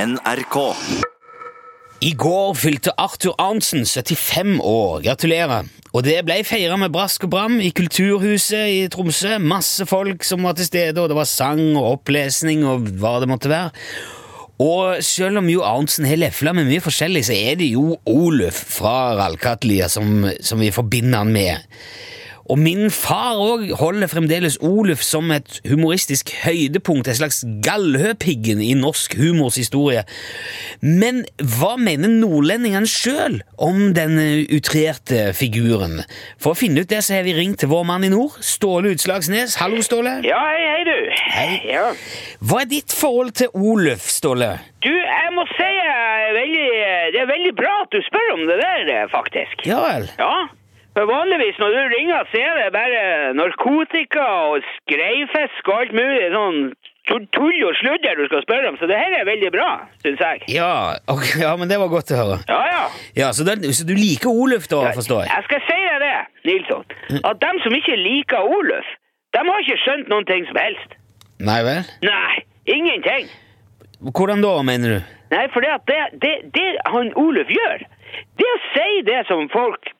NRK. I går fylte Arthur Arntzen 75 år. Gratulerer. Og det ble feira med brask og bram i Kulturhuset i Tromsø. Masse folk som var til stede, og det var sang og opplesning og hva det måtte være. Og selv om jo Arntzen har lefla med mye forskjellig, så er det jo Oluf fra Rallkatlia som, som vi forbinder han med. Og min far òg holder fremdeles Oluf som et humoristisk høydepunkt, en slags Gallhøpiggen i norsk humors historie. Men hva mener nordlendingene sjøl om denne utrerte figuren? For å finne ut det, så har vi ringt til vår mann i nord, Ståle Utslagsnes. Hallo, Ståle. Ja, hei, hei, du. Hei. Ja. Hva er ditt forhold til Oluf, Ståle? Du, jeg må si jeg er veldig, eh, det er veldig bra at du spør om det der, eh, faktisk. Ja vel. Ja. For vanligvis når du ringer, så er det bare narkotika og skreifisk og alt mulig er sånn tu- tull og sludder du skal spørre om, så det her er veldig bra, syns jeg. Ja, ok, ja, men det var godt å høre. Ja, ja. Ja, Så, den, så du liker Oluf, da, forstår Mm. jeg? Jeg skal si deg det, Nilsson, at dem som ikke liker Oluf, dem har ikke skjønt noen ting som helst. Nei vel? Nei, ingenting. Hvordan da, mener du? Nei, for det, at det, det, det han Oluf gjør, det å si det som folk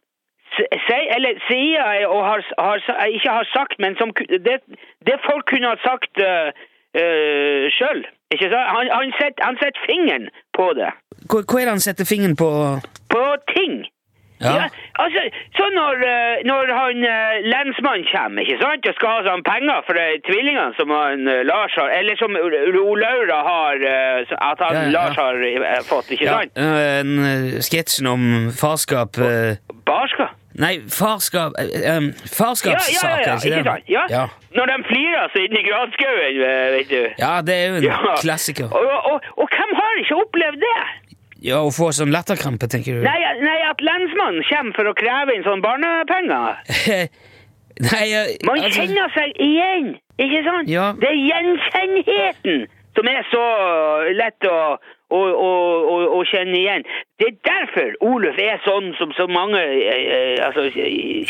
s- sier, eller sier og har, har, ikke har sagt, men som ku- det, det folk kunne ha sagt uh, sjøl. Ikke sant? Han, han setter han setter fingeren på det. Hva, hva er det han setter fingeren på? På ting. Ja, altså, så når, eh, når han eh, lensmannen kommer, ikke sant, og skal ha sånn penger for eh, tvillingene som han eh, Lars har, eller som Ro Laura har, eh, så- at han Ja, ja, ja. Lars har eh, fått, ikke Ja, sant? øh, en, øh, sketsjen om farskap øh, Barska. Nei, farskap øh, øh, Farskapssaker, ja, ja, ja, ikke sant? Ja. Ja. Når de flirer seg inni granskauen, eh, vet du. ja, det er jo en Ja. klassiker. Og, og, og hvem har ikke opplevd det? Ja, Å få sånn latterkrampe, tenker du? Nei, nei, at lensmannen kommer for å kreve inn sånn barnepenger. Nei, øh, Man altså- kjenner seg igjen, ikke sant? Ja. Det er gjenkjennheten som er så lett å å, å, å, å kjenne igjen. Det er derfor Oluf er sånn som så mange eh, eh, altså,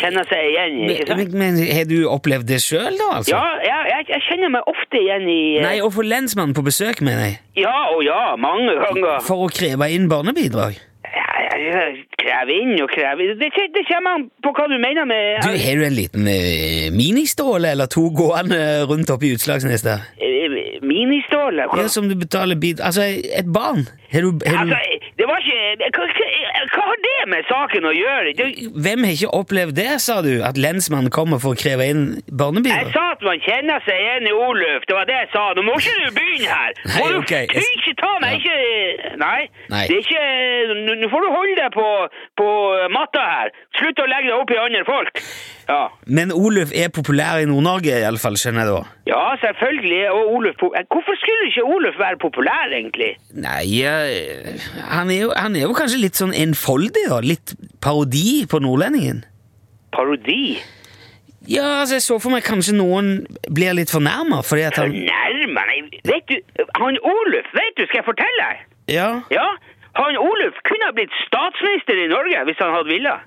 kjenner seg igjen. ikke sant? men, men har du opplevd det sjøl, da? altså? Ja, jeg, jeg, jeg kjenner meg ofte igjen i eh, Nei, Å få lensmannen på besøk, mener jeg. Ja og ja, mange ganger. For å kreve inn barnebidrag. Ja, ja, ja, Krev inn og krev inn. Det, det kommer an på hva du mener med Du, Har du en liten øh, ministåle eller to gående rundt oppe i Utslagsnes der? Eh, Ministåle? Hva- Ja, som du betaler bid... Altså, et barn? Har du, har du Altså, det var ikke hva, hva- hva har det med saken å gjøre? Du, Hvem har ikke opplevd det, sa du? At lensmannen kommer for å kreve inn jeg barnebidrag? sa at man kjenner seg igjen i Oluf. Det var det jeg sa. Nå må ikke du begynne her! Nei, Må du ok, jeg- du ikke ta meg ikke Nei. Nei. Det er ikke Nå nå får du holde deg på, på matta her. Slutt å legge deg opp i andre folk. Ja. Men Oluf er populær i Nord-Norge, iallfall, skjønner jeg da. Ja, selvfølgelig. Og Oluf po- Hvorfor skulle ikke Oluf være populær, egentlig? Nei, eh, han er, jo, han er jo kanskje litt sånn enfoldig, da. Litt parodi på nordlendingen. Parodi? Ja, altså, jeg så for meg kanskje noen blir litt fornærma fordi at han Nærmere Vet du, han Oluf, vet du, skal jeg fortelle deg? Ja, Ja? Han Oluf kunne ha blitt statsminister i Norge hvis han hadde villet.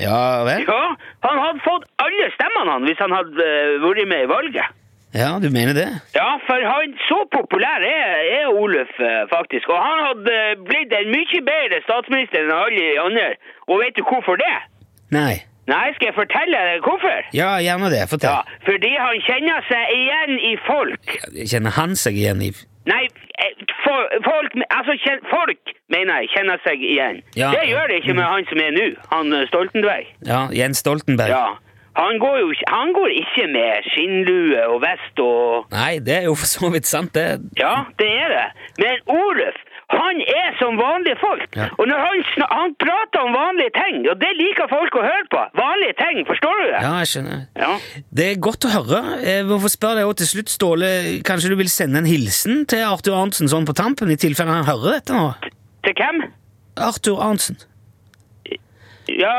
ja vel? Ja, han hadde fått alle stemmene han hvis han hadde eh, vært med i valget. Ja, du mener det? Ja, for han så populær er, er Oluf eh, faktisk. Og han hadde eh, blitt en mye bedre statsminister enn alle de andre. Og vet du hvorfor det? Nei. Nei, skal jeg fortelle deg hvorfor? Ja, gjerne det. Ja, Fortell. fordi han kjenner seg igjen i folk. Kjenner han seg igjen i Nei, eh, for, folk, altså, kjen, folk, mener jeg, kjenner seg igjen. Ja. Det gjør det ikke med han som er nå, han eh, Stoltenberg. Ja, Jens Stoltenberg? Ja. Han går jo ikke- han går ikke med skinnlue og vest og Nei, det er jo for så vidt sant, det. Ja, det er det. Men Oluf, han er som vanlige folk. Ja. Og når han, sna- han prater om vanlige ting, og det liker folk å høre på. Vanlige ting, forstår du det? Ja, jeg skjønner. Ja. Det er godt å høre. Jeg må få spørre deg også til slutt, Ståle. Kanskje du vil sende en hilsen til Arthur Arntzen sånn på tampen, i tilfelle han hører dette nå? Til hvem? Arthur Arntzen. Ja,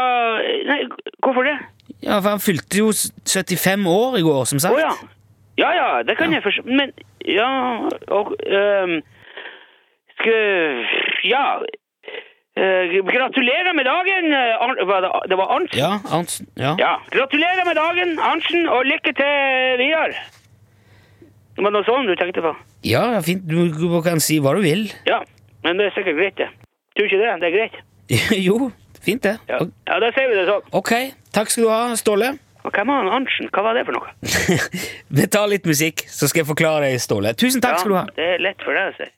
nei, hvorfor det? Ja, for han fylte jo s- 75 år i går, som Å sagt. ja. Ja ja, det kan jeg forstå. Men ja og, ehm, Skal Ja. Eh, gratulerer med dagen, eh, Arn... hva det, det var Arnt? Ja, Arntzen. Ja. Ja. Gratulerer med dagen, Arntzen, og lykke til videre. Det var noe sånn du tenkte på? ja, fint. Du, du kan si hva du vil. Ja. Men det er sikkert greit, det. Tror ikke det? Det er greit. jo, fint det. Ja, ja da sier vi det sånn. Ok, takk skal du ha, Ståle. Og hvem var han Arntzen? Hva var det for noe? Vi tar litt musikk, så skal jeg forklare deg, Ståle. Tusen takk skal du ha. Ja, det er lett for deg å si.